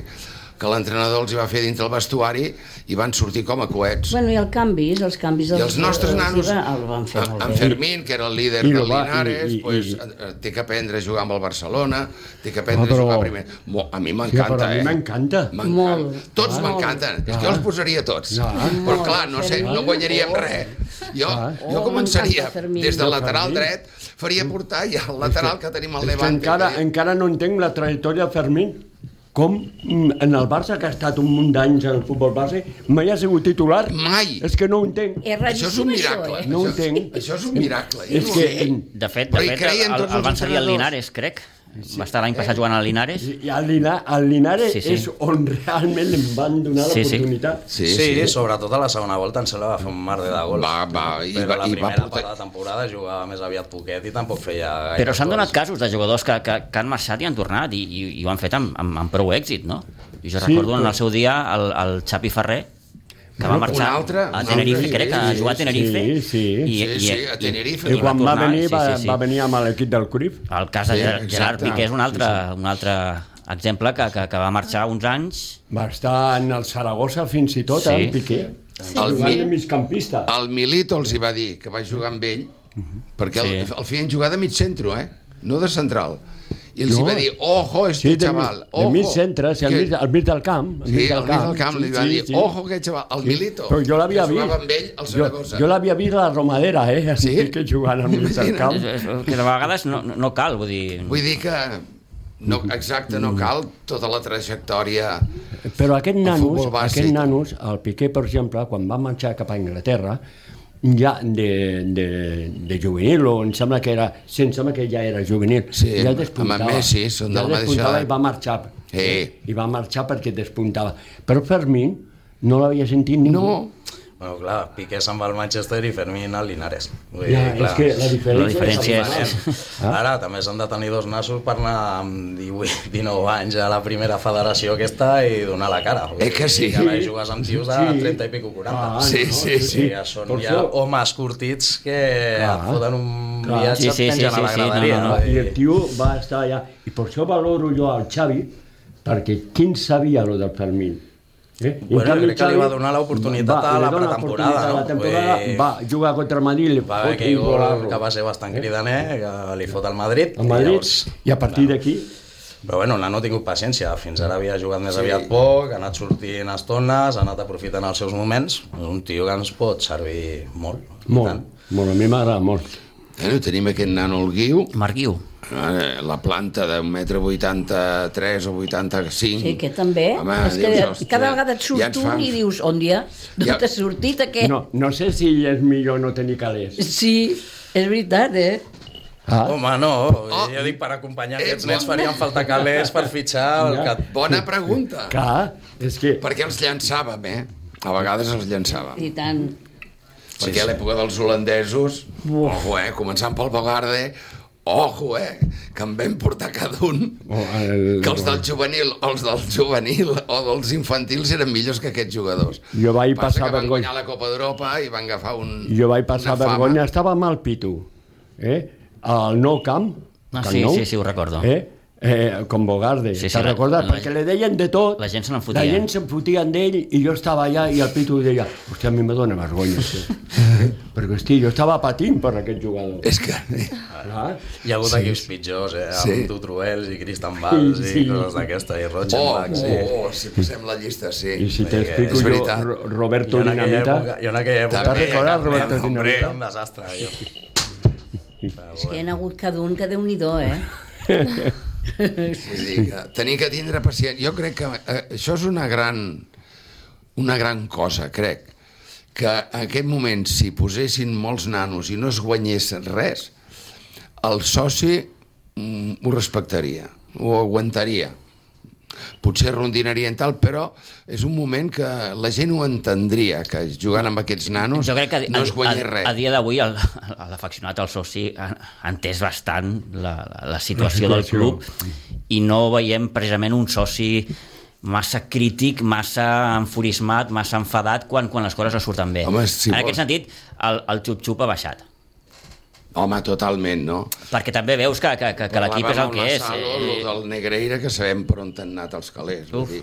Speaker 2: que l'entrenador els hi va fer dintre el vestuari i van sortir com a coets.
Speaker 3: Bueno, i el canvis, els canvis...
Speaker 2: I
Speaker 3: dels-
Speaker 2: els nostres
Speaker 3: els
Speaker 2: nanos,
Speaker 3: va- El van fer molt
Speaker 2: en
Speaker 3: bé.
Speaker 2: Fermín, que era el líder
Speaker 4: I
Speaker 2: del
Speaker 4: lo va- i-
Speaker 2: Linares,
Speaker 4: i- i-
Speaker 2: pues, eh, té que aprendre a jugar amb el Barcelona, té que aprendre
Speaker 4: No, però-
Speaker 2: a jugar primer. Mo, a mi
Speaker 4: Sí, però
Speaker 2: m'encanta,
Speaker 4: a mi
Speaker 2: eh?
Speaker 4: m'encanta.
Speaker 2: M'encanta.
Speaker 3: Molt.
Speaker 2: Tots
Speaker 3: Clar.
Speaker 2: m'encanten. És que jo els posaria tots.
Speaker 4: Clar.
Speaker 2: Però clar, no, sé, no
Speaker 3: Fermín.
Speaker 2: guanyaríem res. Jo,
Speaker 4: Clar.
Speaker 2: jo
Speaker 3: Oh,
Speaker 2: començaria
Speaker 3: m'encanta Fermín.
Speaker 2: des del
Speaker 4: No,
Speaker 2: lateral
Speaker 4: Fermín.
Speaker 2: dret, faria portar i el lateral que tenim al
Speaker 4: És que
Speaker 2: Levante. eh?
Speaker 4: encara,
Speaker 2: que-
Speaker 4: encara no entenc la trajectòria de Fermín. Com mm, en el Barça, que ha estat un munt d'anys en el futbol base, mai ha sigut titular.
Speaker 2: Mai.
Speaker 4: És que no ho entenc.
Speaker 3: És
Speaker 2: Això és un
Speaker 3: Eh, raríssim,
Speaker 2: miracle.
Speaker 3: això, eh?
Speaker 4: No ho
Speaker 2: Això és-
Speaker 4: entenc.
Speaker 2: Això és un miracle. eh? Jo
Speaker 4: És
Speaker 2: no
Speaker 4: que...
Speaker 2: sé.
Speaker 1: De fet, de
Speaker 2: Però hi
Speaker 1: fet el,
Speaker 2: creien
Speaker 1: el,
Speaker 2: tots els
Speaker 1: van seguir al
Speaker 2: entrenadors.
Speaker 1: Linares, crec. Va estar l'any
Speaker 5: Eh?
Speaker 1: passat jugant al Linares.
Speaker 4: I el, Lina, el Linares
Speaker 1: Sí,
Speaker 4: sí,
Speaker 1: sí.
Speaker 4: sí. és on realment li van donar
Speaker 1: Sí, sí.
Speaker 4: l'oportunitat.
Speaker 5: Sí, sí, sí, sobretot a la segona volta em sembla va fer un mar de gols.
Speaker 2: Va, va, i
Speaker 5: però
Speaker 2: va-
Speaker 5: la
Speaker 2: i va
Speaker 5: primera
Speaker 2: portar-
Speaker 5: part de la temporada jugava més aviat poquet i tampoc feia gaire
Speaker 1: Però s'han donat
Speaker 5: gols.
Speaker 1: casos de jugadors que, que, que han marxat i han tornat i, i, i ho han fet amb, amb, amb prou èxit, no? I jo
Speaker 4: Sí,
Speaker 1: recordo en
Speaker 4: però-
Speaker 1: el seu dia el, el Xapi Ferrer, que va
Speaker 4: Un
Speaker 1: marxar
Speaker 2: altre,
Speaker 1: a
Speaker 2: un
Speaker 1: Tenerife,
Speaker 2: altre,
Speaker 1: crec que ha
Speaker 4: sí,
Speaker 1: jugat a Tenerife.
Speaker 4: sí, sí.
Speaker 2: Sí, sí, a Tenerife.
Speaker 4: I quan va
Speaker 1: tornar,
Speaker 4: venir, va,
Speaker 1: sí, sí, sí.
Speaker 4: va venir amb l'equip del Cruyff.
Speaker 1: El cas de
Speaker 2: Sí,
Speaker 1: Gerard, Gerard
Speaker 2: exacte.
Speaker 1: Piqué és un altre, un altre exemple que, que, que va marxar uns anys
Speaker 4: Va estar en el Saragossa fins i tot,
Speaker 1: Sí.
Speaker 4: sí. en Piqué.
Speaker 6: Sí,
Speaker 4: El
Speaker 6: sí.
Speaker 4: sí. migcampista.
Speaker 2: El Milito els hi va dir que va jugar amb ell,
Speaker 4: Mhm.
Speaker 2: perquè el,
Speaker 1: Sí.
Speaker 2: el feien jugar de mig centro, eh? No de central. I els
Speaker 4: No.
Speaker 2: hi va dir, ojo, este
Speaker 4: Sí, de,
Speaker 2: xaval,
Speaker 4: de
Speaker 2: ojo.
Speaker 4: mig centre, sí, al,
Speaker 2: Que-
Speaker 4: mig, al mig del camp. Al
Speaker 2: Sí, al mig del camp li van dir, ojo aquest xaval, el Milito.
Speaker 4: Però jo l'havia
Speaker 2: que
Speaker 4: vist.
Speaker 2: Jugava amb ell al Saragossa.
Speaker 4: Jo, jo l'havia vist a la Romadera, eh? en *laughs*
Speaker 2: Sí?
Speaker 4: Piqué jugant al mig del
Speaker 2: Imagina't.
Speaker 4: camp.
Speaker 1: és- és- que de vegades no, no no cal, vull dir...
Speaker 2: Vull dir que, no, exacte,
Speaker 4: Mm.
Speaker 2: no cal tota la trajectòria.
Speaker 4: Però aquest nanos,
Speaker 2: futbol base.
Speaker 4: aquest nanos, el Piqué, per exemple, quan va marxar cap a Anglaterra, ja de, de, de juvenil, o em sembla que era, sí, em sembla que ja era juvenil,
Speaker 2: Sí,
Speaker 4: ja
Speaker 2: amb- amb en Messi, són de
Speaker 4: ja
Speaker 2: la mateixa
Speaker 4: despuntava
Speaker 2: edat.
Speaker 4: i va marxar.
Speaker 2: Sí.
Speaker 4: I va marxar perquè despuntava. Però Fermín no l'havia sentit ningú.
Speaker 2: No.
Speaker 5: Bueno, clar, Piqué se'n va al Manchester i Fermín al Linares. Vull
Speaker 4: Ja,
Speaker 5: dir, clar,
Speaker 4: és que la diferència,
Speaker 1: La diferència és-
Speaker 5: Ah. Ara també s'han de tenir dos nassos per anar amb 18, 19 anys a la primera federació aquesta i donar la cara. Vull
Speaker 2: Eh que
Speaker 5: dir,
Speaker 2: sí?
Speaker 5: Que ara hi jugues amb tios de
Speaker 4: Sí.
Speaker 5: 30 i pico 40.
Speaker 4: Ah,
Speaker 2: Sí,
Speaker 4: no?
Speaker 2: sí,
Speaker 5: Sí, ja són
Speaker 4: Per
Speaker 5: ja
Speaker 4: això-
Speaker 5: homes curtits que
Speaker 4: Clar.
Speaker 5: et foten un
Speaker 4: Clar.
Speaker 5: viatge
Speaker 1: Sí, sí,
Speaker 5: sí, sí,
Speaker 1: sí,
Speaker 5: a la
Speaker 1: sí, sí, no,
Speaker 5: graderia.
Speaker 1: no,
Speaker 5: No,
Speaker 1: no.
Speaker 5: no,
Speaker 4: I Ah, el tio va estar allà. I per això valoro jo al Xavi, perquè quin sabia lo del Fermín? Eh? I en
Speaker 5: Bueno,
Speaker 4: canvi,
Speaker 5: jo crec que li
Speaker 4: Xavi
Speaker 5: va donar l'oportunitat
Speaker 4: va,
Speaker 5: a
Speaker 4: li
Speaker 5: la
Speaker 4: dona
Speaker 5: pretemporada,
Speaker 4: l'oportunitat a La
Speaker 5: no?
Speaker 4: temporada,
Speaker 5: Vull dir-
Speaker 4: va jugar contra el Madrid, li
Speaker 5: Va
Speaker 4: fot
Speaker 5: haver aquell
Speaker 4: un
Speaker 5: gol
Speaker 4: gol
Speaker 5: que va ser bastant cridaner, que li fot al Madrid.
Speaker 4: a Madrid,
Speaker 5: i
Speaker 4: i a partir d'aquí...
Speaker 5: Però bueno, n'ha no ha tingut paciència, fins ara havia jugat més sí. aviat poc, ha anat sortint a estones, ha anat aprofitant els seus moments, és un tio que ens pot servir molt. i
Speaker 4: Molt,
Speaker 5: tant.
Speaker 4: molt, a mi m'agrada molt.
Speaker 2: Bueno, tenim aquest nano el guiu,
Speaker 1: Marguiu.
Speaker 2: eh, la planta d'un metre 83 o 85.
Speaker 3: Sí, que també.
Speaker 2: eh? Home,
Speaker 3: és que
Speaker 2: dius, "Ostres,
Speaker 3: cada vegada et surt
Speaker 2: ja ens
Speaker 3: un
Speaker 2: fan-
Speaker 3: i dius, on dia? D'on
Speaker 2: Ja-
Speaker 3: t'ha sortit aquest?
Speaker 4: No, no sé si és millor no tenir calés.
Speaker 3: Sí, és veritat, eh?
Speaker 4: Ah,
Speaker 5: Home, no, oh. jo dic per acompanyar aquests nens farien falta calés per fitxar el
Speaker 4: Ja.
Speaker 5: que...
Speaker 2: Bona pregunta.
Speaker 4: clar, és Ah, que...
Speaker 2: Perquè els llançàvem, eh? A vegades els llançàvem.
Speaker 3: I tant.
Speaker 2: Perquè a l'època dels holandesos, ojo, eh? Començant pel Bogarde, ojo, eh? Que en vam portar cada un.
Speaker 4: Oh, el-
Speaker 2: Que els del juvenil, o els del juvenil o dels infantils eren millors que aquests jugadors.
Speaker 4: Jo vaig
Speaker 2: Passa
Speaker 4: passar
Speaker 2: que van
Speaker 4: vergonya.
Speaker 2: guanyar la Copa d'Europa i van agafar un...
Speaker 4: Jo vaig passar
Speaker 2: una fama.
Speaker 4: vergonya, estava mal pitu, eh? Al nou camp,
Speaker 1: Ah,
Speaker 4: Camp
Speaker 1: sí,
Speaker 4: Nou,
Speaker 1: sí, sí, ho recordo.
Speaker 4: Eh? Eh, com
Speaker 1: Sí,
Speaker 4: Bogarde, sí,
Speaker 1: sí,
Speaker 4: sí, te'n
Speaker 1: la-
Speaker 4: recordes?
Speaker 1: la-
Speaker 4: Perquè li deien de tot.
Speaker 1: la gent se n'enfotia.
Speaker 4: La gent se'n fotien d'ell i jo estava allà i el Pitu deia hòstia, a mi me dóna vergonya. Sí. eh? Perquè, hosti, jo estava patint per aquest jugador.
Speaker 1: Eh.
Speaker 2: És que...
Speaker 4: Clar.
Speaker 5: Hi ha hagut sí. equips pitjors, eh? Amb
Speaker 2: Sí.
Speaker 5: sí. Tutruels i Cristian Valls
Speaker 4: Sí.
Speaker 5: i coses d'aquesta, i
Speaker 2: Oh,
Speaker 5: Rochenbach,
Speaker 2: oh,
Speaker 5: sí.
Speaker 2: oh, si posem la llista, sí.
Speaker 4: I si
Speaker 2: És
Speaker 4: t'explico jo,
Speaker 2: veritat.
Speaker 4: Ro- Roberto
Speaker 5: Jo en aquella
Speaker 4: Dinamita...
Speaker 5: època, jo en aquella època...
Speaker 2: També,
Speaker 4: recordes,
Speaker 5: també,
Speaker 4: Roberto
Speaker 5: hombre,
Speaker 4: Dinamita?
Speaker 5: Era un desastre, jo.
Speaker 3: És que hi ha hagut cada un que déu nhi eh?
Speaker 2: Vull dir que tenir que tindre paciència... Jo crec que eh, això és una gran, una gran cosa, crec, que en aquest moment, si posessin molts nanos i no es guanyés res, el soci mm, ho respectaria, ho aguantaria. Potser rondinaria en tal, però és un moment que la gent ho entendria, que jugant amb aquests nanos
Speaker 1: Jo crec que a,
Speaker 2: no es
Speaker 1: a,
Speaker 2: guanyés
Speaker 1: a,
Speaker 2: res.
Speaker 1: a dia d'avui el- l'afeccionat al soci ha ha entès bastant la, la, la situació
Speaker 4: La
Speaker 1: del
Speaker 4: situació.
Speaker 1: club i no veiem precisament un soci massa crític, massa enfurismat, massa enfadat quan, quan les coses no surten bé.
Speaker 2: Home, si
Speaker 1: en
Speaker 2: vols.
Speaker 1: aquest sentit, el, el xup-xup ha baixat.
Speaker 2: Home, totalment, no?
Speaker 1: Perquè també veus que, que, que, que l'equip és el que és.
Speaker 2: Salo,
Speaker 1: eh,
Speaker 2: el del Negreira, que sabem per on han anat els calés. Vull dir,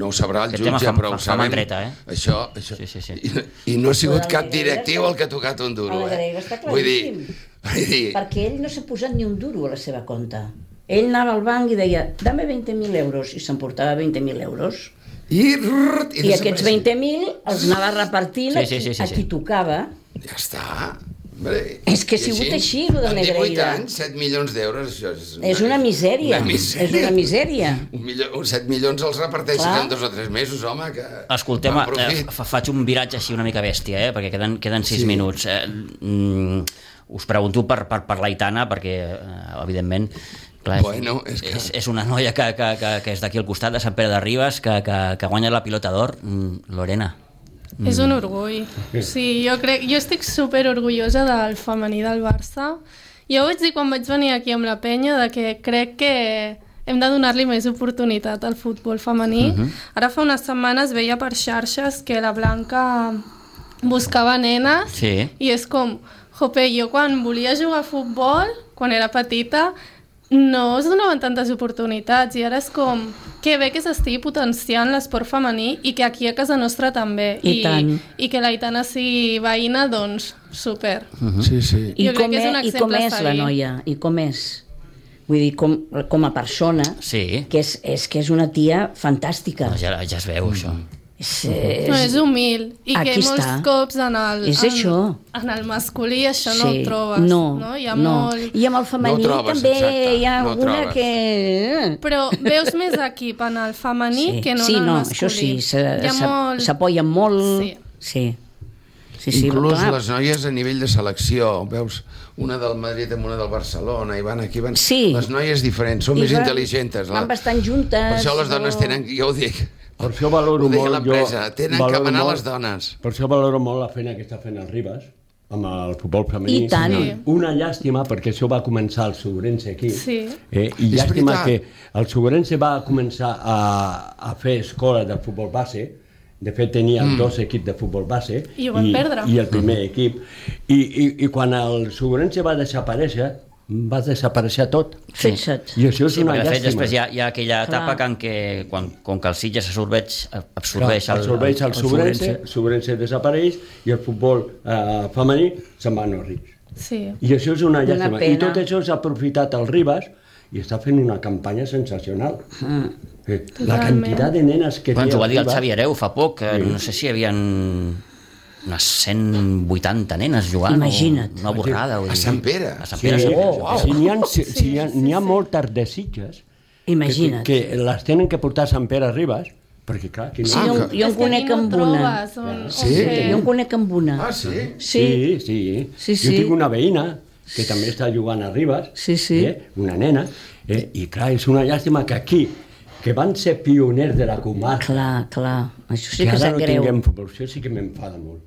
Speaker 2: no ho sabrà el
Speaker 1: Aquest tema
Speaker 2: jutge,
Speaker 1: fa-
Speaker 2: però
Speaker 1: fa-
Speaker 2: ho
Speaker 1: fa
Speaker 2: sabem.
Speaker 1: mandreta, eh?
Speaker 2: Això, això.
Speaker 1: Sí, sí, sí.
Speaker 2: I, I no ha sigut
Speaker 3: Però el
Speaker 2: cap
Speaker 3: Negreira
Speaker 2: directiu
Speaker 3: està-
Speaker 2: el que ha tocat un duro,
Speaker 3: el
Speaker 2: eh?
Speaker 3: Negreira està
Speaker 2: Vull dir,
Speaker 3: claríssim.
Speaker 2: vull dir,
Speaker 3: Perquè ell no s'ha posat ni un duro a la seva compte. Ell anava al banc i deia, dame 20.000 euros, i s'emportava 20.000 euros.
Speaker 2: i, rrrt,
Speaker 3: I, aquests 20.000 els anava repartint
Speaker 1: Sí, sí, sí, sí,
Speaker 3: a qui
Speaker 1: sí.
Speaker 3: tocava.
Speaker 2: Ja està. Hombre,
Speaker 3: És que ha sigut així, lo del
Speaker 2: Amb 18
Speaker 3: Negreira.
Speaker 2: anys, 7 milions d'euros, això és...
Speaker 3: És una misèria.
Speaker 2: Una misèria.
Speaker 3: És una misèria.
Speaker 2: Un milió, uns 7 milions els reparteixen
Speaker 3: Clar.
Speaker 2: en dos o tres mesos, home, que...
Speaker 1: Escoltem,
Speaker 2: fan
Speaker 1: eh,
Speaker 2: profit.
Speaker 1: fa, faig un viratge així una mica bèstia, eh, perquè queden, queden sis sí. minuts. Eh, mm, us pregunto per, per, per l'Aitana, perquè, eh, evidentment, clar,
Speaker 2: Bueno, és que-
Speaker 1: és, és una noia que, que, que, que és d'aquí al costat, de Sant Pere de Ribes, que, que, que guanya la pilota d'or. Mm, Lorena.
Speaker 6: És un orgull. Sí, jo, crec, jo estic super orgullosa del femení del Barça. Jo ho vaig dir quan vaig venir aquí amb la penya de que crec que hem de donar-li més oportunitat al futbol femení. Ara fa unes setmanes veia per xarxes que la Blanca buscava nenes
Speaker 1: Sí.
Speaker 6: i és com, jope, jo quan volia jugar a futbol, quan era petita, no es donaven tantes oportunitats i ara és com que bé que s'estigui potenciant l'esport femení i que aquí a casa nostra també.
Speaker 3: I tant.
Speaker 6: I que l'Aitana sigui veïna, doncs, super.
Speaker 3: Mm.
Speaker 2: Sí, sí.
Speaker 3: I
Speaker 6: Jo crec
Speaker 3: com,
Speaker 6: que és
Speaker 3: és,
Speaker 6: un
Speaker 3: i com
Speaker 6: exemple
Speaker 3: és la
Speaker 6: seguir.
Speaker 3: noia? I com és? Vull dir, com, com a persona,
Speaker 1: Sí.
Speaker 3: que és, és que és una tia fantàstica.
Speaker 1: No, ja, ja es veu, això.
Speaker 2: Mm.
Speaker 3: És,
Speaker 6: No,
Speaker 3: és,
Speaker 6: és humil. I
Speaker 3: Aquí
Speaker 6: que molts
Speaker 3: està.
Speaker 6: cops en el,
Speaker 3: És
Speaker 6: en,
Speaker 3: això.
Speaker 6: en el masculí això no ho trobes.
Speaker 3: No,
Speaker 6: no? Hi ha
Speaker 3: no.
Speaker 6: molt...
Speaker 3: I amb el
Speaker 2: No ho
Speaker 3: femení
Speaker 2: trobes,
Speaker 3: també
Speaker 2: exacte,
Speaker 3: hi ha
Speaker 2: no ho
Speaker 3: alguna
Speaker 2: trobes.
Speaker 3: que... eh,
Speaker 6: Però veus més equip en el femení
Speaker 3: sí,
Speaker 6: que no
Speaker 3: sí,
Speaker 6: en el
Speaker 3: no,
Speaker 6: masculí.
Speaker 3: això sí, se-
Speaker 6: Hi ha
Speaker 3: se-
Speaker 6: molt-
Speaker 3: s'apoyen molt...
Speaker 6: Sí.
Speaker 3: Sí. Sí, sí,
Speaker 2: Sí, Inclús
Speaker 3: clar.
Speaker 2: les noies a nivell de selecció, veus una del Madrid amb una del Barcelona, i van aquí, van...
Speaker 3: Sí.
Speaker 2: Les noies diferents, són
Speaker 3: I
Speaker 2: més
Speaker 3: van-
Speaker 2: intel·ligents.
Speaker 3: van bastant juntes,
Speaker 2: Per això les
Speaker 3: no?
Speaker 2: dones tenen, jo ho dic,
Speaker 4: Per això valoro
Speaker 2: Ho deia
Speaker 4: molt... jo,
Speaker 2: l'empresa, tenen que
Speaker 4: valoro
Speaker 2: manar
Speaker 4: molt-
Speaker 2: les dones.
Speaker 4: Per això valoro molt la feina que està fent el Ribas amb el futbol femení.
Speaker 3: I tant.
Speaker 6: Sí.
Speaker 4: Una llàstima, perquè això va començar el Sobrense aquí.
Speaker 6: Sí.
Speaker 4: Eh? I
Speaker 2: És
Speaker 4: llàstima
Speaker 2: veritat.
Speaker 4: que el Sobrense va començar a, a fer escola de futbol base, de fet tenia mm. dos equips de futbol base
Speaker 6: I ho van perdre.
Speaker 4: i el primer equip i, i, i quan el Sobrense va desaparèixer va desaparèixer tot
Speaker 3: Fixa't.
Speaker 4: i això és
Speaker 1: Sí,
Speaker 4: una
Speaker 1: perquè de fet
Speaker 4: llàstima
Speaker 1: després hi ha, hi ha aquella
Speaker 3: Clar.
Speaker 1: etapa que en què, quan, com que el Sitges absorbeix, absorbeix,
Speaker 4: absorbeix,
Speaker 1: el,
Speaker 4: absorbeix el, el, Sobrense,
Speaker 1: Sobrense.
Speaker 4: el Sobrense desapareix i el futbol eh, femení se'n va a Norris.
Speaker 6: Sí.
Speaker 4: I això és una
Speaker 3: Una
Speaker 4: llàstima. I
Speaker 3: pena.
Speaker 4: tot això s'ha aprofitat el Ribas i està fent una campanya sensacional. Eh, La
Speaker 6: Hmm. Totalment.
Speaker 4: quantitat de nenes que
Speaker 1: Bueno, ens ho va dir el
Speaker 4: Ribas-
Speaker 1: Xavi eh? Areu fa poc, que no sé si hi havia unes 180 nenes jugant. o
Speaker 3: Imagina't.
Speaker 1: Una borrada. vull
Speaker 2: A
Speaker 1: dir.
Speaker 2: Sant Pere.
Speaker 1: A Sant
Speaker 4: Sí,
Speaker 1: Pere, sí.
Speaker 4: oh,
Speaker 1: sí.
Speaker 4: wow. si n'hi ha, si, si hi ha,
Speaker 6: Sí, sí,
Speaker 4: n'hi ha
Speaker 6: sí.
Speaker 4: moltes de Sitges que,
Speaker 3: Imagina't.
Speaker 4: que les tenen que portar a Sant Pere Ribas perquè clar, aquí no...
Speaker 3: Sí, jo, jo en
Speaker 6: És que
Speaker 3: conec
Speaker 6: aquí no
Speaker 3: amb una.
Speaker 6: trobes On, on
Speaker 2: Sí?
Speaker 6: fer-
Speaker 3: Jo en conec amb una.
Speaker 2: Ah, sí?
Speaker 3: Sí,
Speaker 4: sí. sí.
Speaker 3: Sí,
Speaker 4: jo
Speaker 3: sí.
Speaker 4: tinc una veïna que també està jugant a Ribes,
Speaker 3: Sí, sí.
Speaker 4: Eh? una nena, eh? i clar, és una llàstima que aquí, que van ser pioners de la comarca,
Speaker 3: clar, clar. Això sí que
Speaker 4: que ara
Speaker 3: sap
Speaker 4: no
Speaker 3: greu.
Speaker 4: tinguem futbol, això sí que m'enfada molt.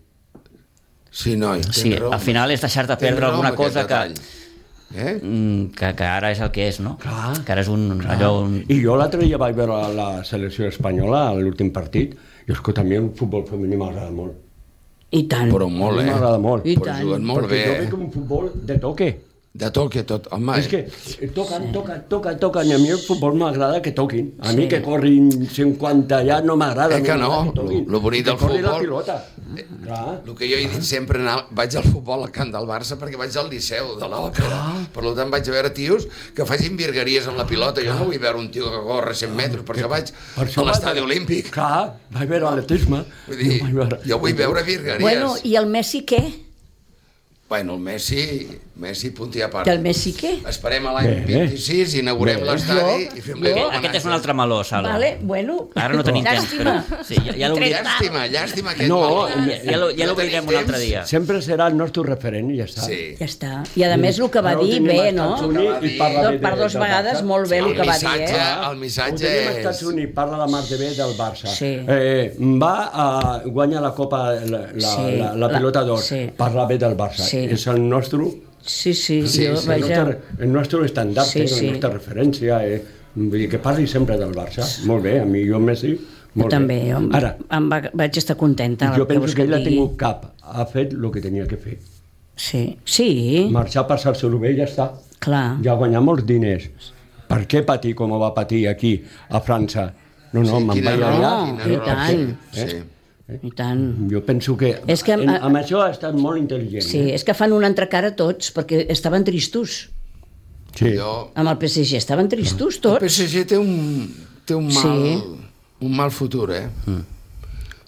Speaker 2: Sí, noi, tens
Speaker 1: Sí,
Speaker 2: raó.
Speaker 1: al final és deixar-te
Speaker 2: Tens
Speaker 1: perdre
Speaker 2: raó amb
Speaker 1: alguna
Speaker 2: aquest
Speaker 1: cosa que,
Speaker 2: detall. Eh?
Speaker 1: mm, que, que ara és el que és, no?
Speaker 4: Clar.
Speaker 1: Que ara és un, allò, un,
Speaker 4: I jo l'altre dia vaig veure la selecció espanyola, a l'últim partit, i és que també el futbol femení m'agrada molt.
Speaker 3: I tant.
Speaker 2: Però molt, eh?
Speaker 4: M'agrada molt.
Speaker 3: I
Speaker 2: Però
Speaker 3: tant.
Speaker 2: juguen molt
Speaker 4: Perquè
Speaker 2: bé,
Speaker 4: jo
Speaker 2: eh?
Speaker 4: veig un futbol de toque.
Speaker 2: De toque tot. Home,
Speaker 4: És que toquen, toquen, toquen, toquen, i a mi el futbol m'agrada que toquin. A mi que corrin 50 ja no m'agrada.
Speaker 2: Eh que no?
Speaker 4: m'agrada toquin.
Speaker 2: Lo- lo bonic
Speaker 4: Que
Speaker 2: del
Speaker 4: corri la
Speaker 2: futbol- Eh.
Speaker 4: pilota. Clar.
Speaker 2: El que jo he dit sempre, anar, vaig al futbol al camp del Barça perquè vaig al Liceu de l'Òpera. Per tant, vaig a veure tios que facin virgueries amb la pilota. Jo no vull veure un tio que corre 100 metres, per això vaig a
Speaker 4: vaig-
Speaker 2: l'estadi olímpic.
Speaker 4: Clar, vaig veure atletisme.
Speaker 2: Vull dir,
Speaker 4: vaig veure-
Speaker 2: jo vull veure virgueries.
Speaker 3: Bueno, i el Messi què?
Speaker 2: Bueno, el Messi, Messi punt i a part.
Speaker 3: I el Messi què?
Speaker 2: Esperem a l'any
Speaker 4: Bé.
Speaker 2: 26, inaugurem
Speaker 4: Bé.
Speaker 2: l'estadi
Speaker 3: Jo-
Speaker 2: i fem
Speaker 3: jo-
Speaker 2: l'homenatge.
Speaker 1: Aquest és un altre meló, Sala.
Speaker 3: Vale, bueno.
Speaker 1: Ara no tenim temps, però...
Speaker 3: Llàstima.
Speaker 1: Sí, ja, ja l'oblidem.
Speaker 2: Llàstima, llàstima aquest
Speaker 4: No,
Speaker 2: mal.
Speaker 4: eh,
Speaker 1: Ja l'ho- ja
Speaker 2: No
Speaker 1: l'oblidem
Speaker 2: tenim
Speaker 1: un altre
Speaker 2: temps.
Speaker 1: dia.
Speaker 4: Sempre serà el nostre referent i ja està.
Speaker 2: Sí.
Speaker 3: Ja està. I a més el que va dir,
Speaker 4: L'últim
Speaker 3: bé,
Speaker 4: als
Speaker 3: no?
Speaker 4: Estats Units i parla
Speaker 3: No,
Speaker 4: bé de-
Speaker 3: per dos
Speaker 4: del
Speaker 3: vegades
Speaker 4: Barça.
Speaker 3: molt bé el que va dir, eh?
Speaker 2: Ah, El missatge
Speaker 4: Ho tenim als
Speaker 2: és-
Speaker 4: Estats Units, parla la mar de bé del Barça.
Speaker 3: Sí.
Speaker 4: Eh, va a guanyar la Copa, la, la,
Speaker 3: Sí,
Speaker 4: la, la
Speaker 3: la-
Speaker 4: pilota d'or.
Speaker 3: sí.
Speaker 4: Parla bé del Barça.
Speaker 3: Sí.
Speaker 4: És el nostre,
Speaker 3: Sí, sí,
Speaker 2: Sí,
Speaker 3: jo,
Speaker 2: sí,
Speaker 4: el
Speaker 3: vaja.
Speaker 4: nostre, el nostre estandard,
Speaker 3: Sí,
Speaker 4: sí, sí.
Speaker 3: sí.
Speaker 4: la nostra referència. Eh? Vull dir que parli sempre del Barça. Molt bé, a mi jo Messi,
Speaker 3: Jo
Speaker 4: molt
Speaker 3: també,
Speaker 4: bé.
Speaker 3: jo em-
Speaker 4: Ara,
Speaker 3: em va, vaig estar contenta.
Speaker 4: jo
Speaker 3: vols
Speaker 4: penso que ell ha
Speaker 3: et digui.
Speaker 4: tingut cap. Ha fet el que tenia que fer.
Speaker 3: Sí, sí, Ah.
Speaker 4: Marxar per Sarsorbell i ja està.
Speaker 3: clar.
Speaker 4: Ja guanyar molts diners. Per què patir com ho va patir aquí, a França? No, no, me'n
Speaker 2: Quina
Speaker 4: vaig
Speaker 2: raó,
Speaker 4: allà. Eh?
Speaker 2: quina
Speaker 3: I
Speaker 2: raó.
Speaker 3: tant.
Speaker 2: Sí.
Speaker 3: I tant.
Speaker 4: Jo penso que
Speaker 3: És que,
Speaker 4: en,
Speaker 3: eh,
Speaker 4: amb això ha estat molt intel·ligent. eh?
Speaker 3: Sí, és que fan una entrecara tots, perquè estaven tristos.
Speaker 4: sí.
Speaker 2: Jo,
Speaker 3: Amb el PSG estaven tristos
Speaker 2: el
Speaker 3: tots.
Speaker 2: PSG té un, té un mal,
Speaker 3: Sí. Mm.
Speaker 2: un mal futur, eh?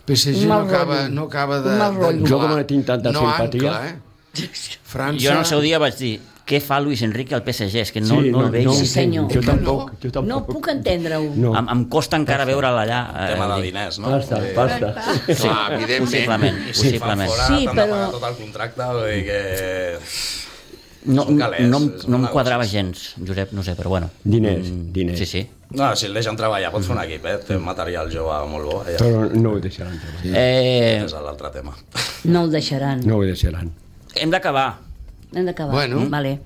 Speaker 2: PSG
Speaker 3: Un
Speaker 2: no
Speaker 3: mal
Speaker 2: acaba,
Speaker 3: rotllo.
Speaker 2: no acaba de...
Speaker 3: Un mal
Speaker 2: de
Speaker 3: rotllo.
Speaker 4: Jo
Speaker 2: nuar.
Speaker 4: com no tinc tanta
Speaker 2: no
Speaker 4: simpatia.
Speaker 2: Ancla, eh? França...
Speaker 1: Jo en el seu dia vaig dir què fa Luis Enrique al PSG? És que no,
Speaker 4: Sí,
Speaker 1: no, el veig.
Speaker 3: Sí,
Speaker 4: entenc.
Speaker 3: senyor.
Speaker 4: Jo tampoc, jo tampoc.
Speaker 3: No puc entendre-ho.
Speaker 4: No.
Speaker 1: Em, em costa encara veure'l allà. eh,
Speaker 5: Tema de
Speaker 1: dic.
Speaker 5: diners, no? Eh,
Speaker 4: Basta, basta.
Speaker 2: Clar,
Speaker 1: Possiblement,
Speaker 2: evidentment.
Speaker 1: possiblement.
Speaker 5: Fora,
Speaker 3: Sí,
Speaker 5: sí, però...
Speaker 3: però-
Speaker 5: tot el contracte, vull dir que...
Speaker 1: No,
Speaker 5: Són calés,
Speaker 1: no, em-
Speaker 5: és
Speaker 1: no em
Speaker 5: una
Speaker 1: quadrava gens, Josep, no sé, però bueno.
Speaker 4: Diners, diners.
Speaker 1: Mm. Sí, sí.
Speaker 5: No, si el deixen treballar, pots fer un equip, eh? Té material jove molt bo, allà.
Speaker 4: Però no ho deixaran. treballar.
Speaker 3: Mm.
Speaker 1: Eh,
Speaker 5: És l'altre tema.
Speaker 3: No el deixaran.
Speaker 4: No ho deixaran.
Speaker 1: hem d'acabar.
Speaker 3: Hem d'acabar.
Speaker 2: Bueno.
Speaker 3: Vale.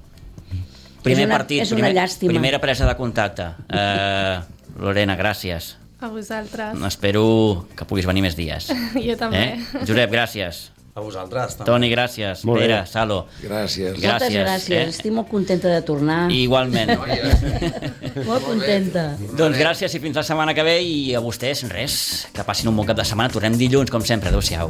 Speaker 1: Primer
Speaker 3: És una-
Speaker 1: partit,
Speaker 3: és una
Speaker 1: primer,
Speaker 3: llàstima.
Speaker 1: primera presa de contacte. Eh, Lorena, gràcies.
Speaker 6: A vosaltres. *laughs*
Speaker 1: Espero que puguis venir més dies.
Speaker 6: Jo també.
Speaker 1: Eh? Josep, gràcies.
Speaker 5: A vosaltres, també.
Speaker 1: Toni, gràcies.
Speaker 4: Molt bé.
Speaker 1: Pere, Salo.
Speaker 2: Gràcies.
Speaker 1: Gràcies.
Speaker 3: Moltes gràcies.
Speaker 1: eh?
Speaker 3: Estic molt contenta de tornar.
Speaker 1: I Igualment.
Speaker 3: eh? Molt contenta.
Speaker 1: doncs gràcies i fins la setmana que ve i a vostès, res, que passin un bon cap de setmana. Tornem dilluns, com sempre. Adéu-siau.